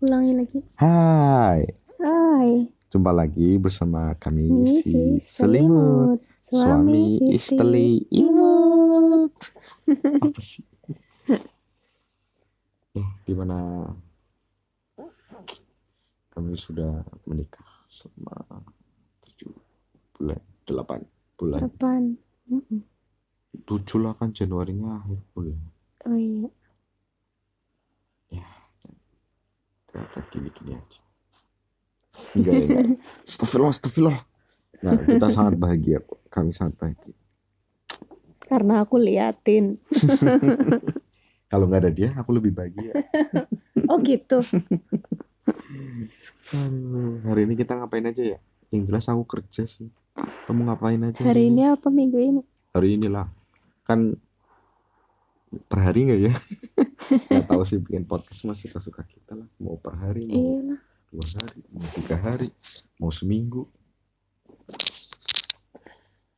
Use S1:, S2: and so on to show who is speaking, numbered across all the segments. S1: ulangi lagi.
S2: Hai,
S1: Hai,
S2: jumpa lagi bersama kami si
S1: misi
S2: Selimut,
S1: selimut,
S2: suami istri imut. Apa sih? Eh, gimana? Kami sudah menikah selama 7 bulan, 8 bulan.
S1: Kapan? Mm-mm.
S2: 7 lah kan Januarinya akhir bulan.
S1: Oh iya,
S2: Ternyata gini-gini aja. Enggak, ya, enggak. Astagfirullah, astagfirullah. Nah, kita sangat bahagia kok. Kami sangat bahagia.
S1: karena aku liatin.
S2: Kalau nggak ada dia, aku lebih bahagia.
S1: Oh gitu.
S2: Aduh, hari ini kita ngapain aja ya? Yang jelas aku kerja sih. Kamu ngapain aja?
S1: Hari ini apa minggu ini?
S2: Hari inilah. Kan per hari nggak ya? Nggak tahu sih bikin podcast masih suka-suka kita lah. Mau per hari, mau
S1: Iya lah.
S2: dua hari, mau tiga hari, mau seminggu.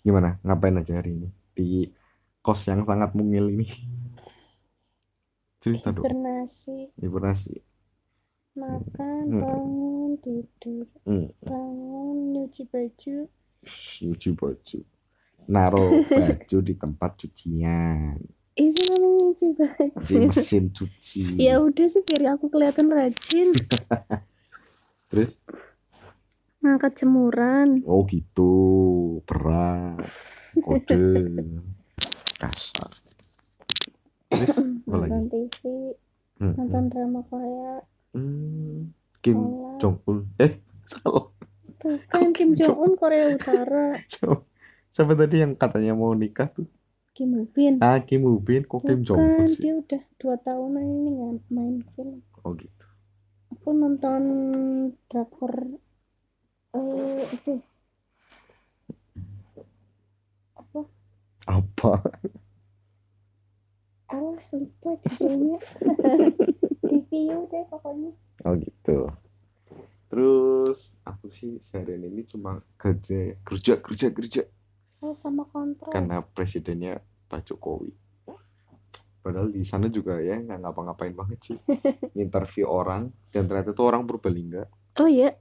S2: Gimana? Ngapain aja hari ini? Di kos yang sangat mungil ini.
S1: Hmm.
S2: Cerita dong,
S1: Hibernasi,
S2: hibernasi.
S1: makan,
S2: Mm-mm.
S1: bangun, tidur,
S2: Hmm.
S1: bangun, nyuci baju.
S2: Cuci baju. Naruh baju di tempat cucian.
S1: Itu namanya nyuci
S2: Di
S1: baju.
S2: mesin cuci.
S1: Ya udah sih biar aku kelihatan rajin.
S2: Terus?
S1: Ngangkat jemuran.
S2: Oh gitu. Berat. Kode. Kasar. Terus? Apa lagi?
S1: Nonton TV,
S2: Hmm,
S1: nonton drama Korea.
S2: hmm. Kim
S1: sholat.
S2: Jong Un. Eh, salah.
S1: Bukan Kim Jong Un Korea Utara.
S2: Jong- Siapa tadi yang katanya mau nikah tuh?
S1: Kim Woo Bin.
S2: Ah, Kim Woo Bin. Kok Kim Jong
S1: Bukan,
S2: Un sih?
S1: dia udah dua tahunan ini nggak main film.
S2: Oh gitu.
S1: Aku nonton drakor eh itu apa?
S2: Apa?
S1: Alah lupa judulnya. Review deh pokoknya.
S2: Oh gitu. Terus aku sih seharian ini cuma kerja kerja kerja kerja
S1: Oh sama kontrol.
S2: karena presidennya Pak Jokowi. Padahal di sana juga ya nggak ngapa-ngapain banget sih. Interview orang dan ternyata tuh orang Purbalingga.
S1: Oh iya.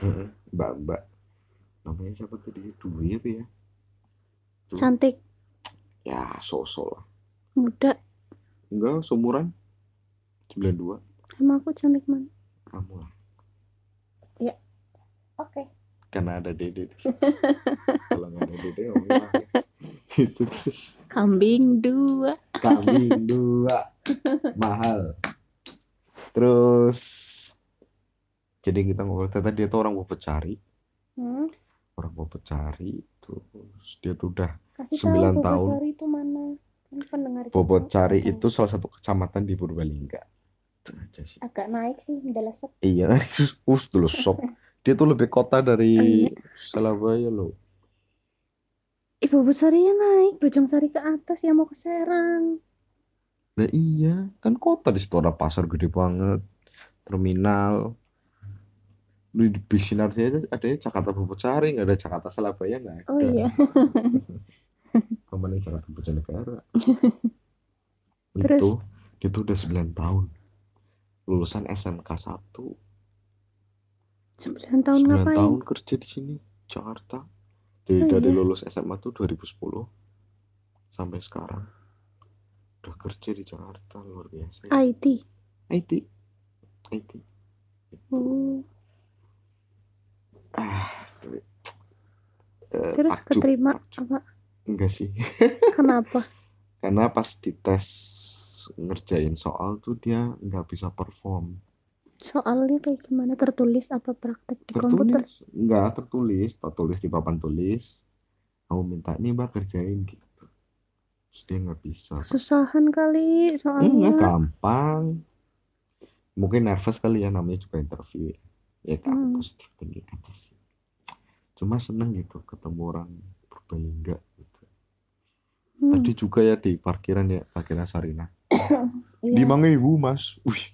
S2: Hmm. Mbak Mbak. Namanya siapa tadi? Dwi apa ya? Tuh.
S1: Cantik,
S2: Ya sosok lah.
S1: muda.
S2: Enggak seumuran 92
S1: Sama aku cantik mana?
S2: kamu lah.
S1: Oke.
S2: Karena ada Dede. di situ. Kalau nggak ada Dede, Om Iwan ya. itu terus.
S1: Kambing dua.
S2: kambing dua mahal terus jadi kita ngobrol ternyata dia tuh orang bobot cari
S1: Hmm,
S2: orang bobot cari terus dia tuh udah
S1: kasih
S2: Sembilan
S1: tahu
S2: tahun.
S1: Bogor itu mana? Kan pendengar kita
S2: bobot cari
S1: tahu.
S2: itu salah satu kecamatan di Purbalingga itu aja sih
S1: agak naik sih udah lesep.
S2: iya us dulu sob dia tuh lebih kota dari
S1: Iya.
S2: Surabaya loh
S1: Ibu Busarinya naik, Bojong Sari ke atas yang mau ke Serang.
S2: nah iya kan kota di situ ada pasar gede banget terminal di di sinar aja adanya Jakarta Bobot Cari nggak ada Jakarta Surabaya nggak ada
S1: Oh iya.
S2: kemarin cara keputusan negara
S1: Terus?
S2: itu itu udah 9 tahun lulusan SMK 1
S1: 9 tahun
S2: 9
S1: ngapain?
S2: tahun kerja di sini Jakarta jadi
S1: Oh,
S2: dari
S1: iya.
S2: lulus SMA tuh 2010 sampai sekarang udah kerja di Jakarta luar biasa ya.
S1: IT.
S2: IT IT
S1: Oh,
S2: ah tapi, eh,
S1: terus
S2: takjub.
S1: keterima
S2: takjub.
S1: apa?
S2: enggak sih
S1: Kenapa?
S2: karena pas dites ngerjain soal tuh dia nggak bisa perform
S1: Soalnya kayak gimana? Tertulis apa praktek di komputer?
S2: tertulis enggak tertulis tertulis di papan tulis kamu minta nih mbak kerjain gitu terus dia nggak bisa
S1: Susahan kali
S2: enggak
S1: soalnya.
S2: gampang mungkin nervous kali ya namanya juga interview ya kan
S1: Hmm.
S2: positif tinggi aja sih cuma seneng gitu ketemu orang Purbalingga gitu
S1: Hmm,
S2: tadi juga ya di parkiran ya parkiran Sarina
S1: iya.
S2: lima ribu mas wih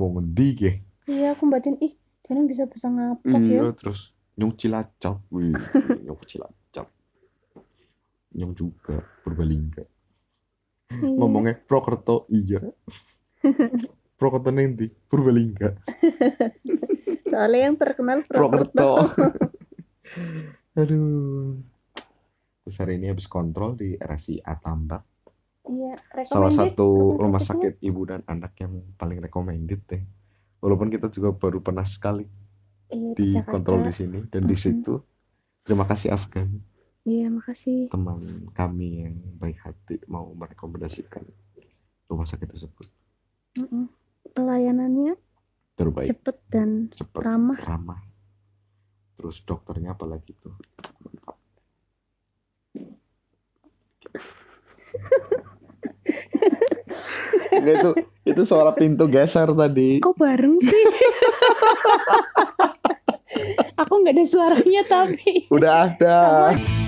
S2: mau ngendi ya
S1: Iya, aku batin ih, dia bisa bisa ngapok ya.
S2: Iya, terus nyong cilacap, wih, nyong cilacap, nyong juga Purbalingga.
S1: Iya.
S2: Ngomongnya Prokerto, iya. Purwokerto ning ndi? Purbalingga.
S1: Soalnya yang terkenal Purwokerto.
S2: Purwokerto. Aduh. Terus hari ini habis kontrol di RSIA Tambak.
S1: Iya,
S2: Salah
S1: recommended
S2: satu rumah
S1: sakitnya.
S2: sakit ibu dan anak yang paling recommended deh. Walaupun kita juga baru pernah sekali
S1: Iya, di Jakarta.
S2: dikontrol di sini dan di
S1: Mm-mm.
S2: situ. Terima kasih Afgan,
S1: Iya, makasih.
S2: teman kami yang baik hati mau merekomendasikan rumah sakit tersebut.
S1: Mm-mm. Pelayanannya
S2: Terbaik,
S1: cepet dan
S2: cepat,
S1: ramah.
S2: ramah. Terus dokternya apalagi tuh. Mantap. Nggak, itu itu suara pintu geser tadi.
S1: Kok bareng sih? Aku nggak ada suaranya tapi.
S2: Udah ada.
S1: Kamu-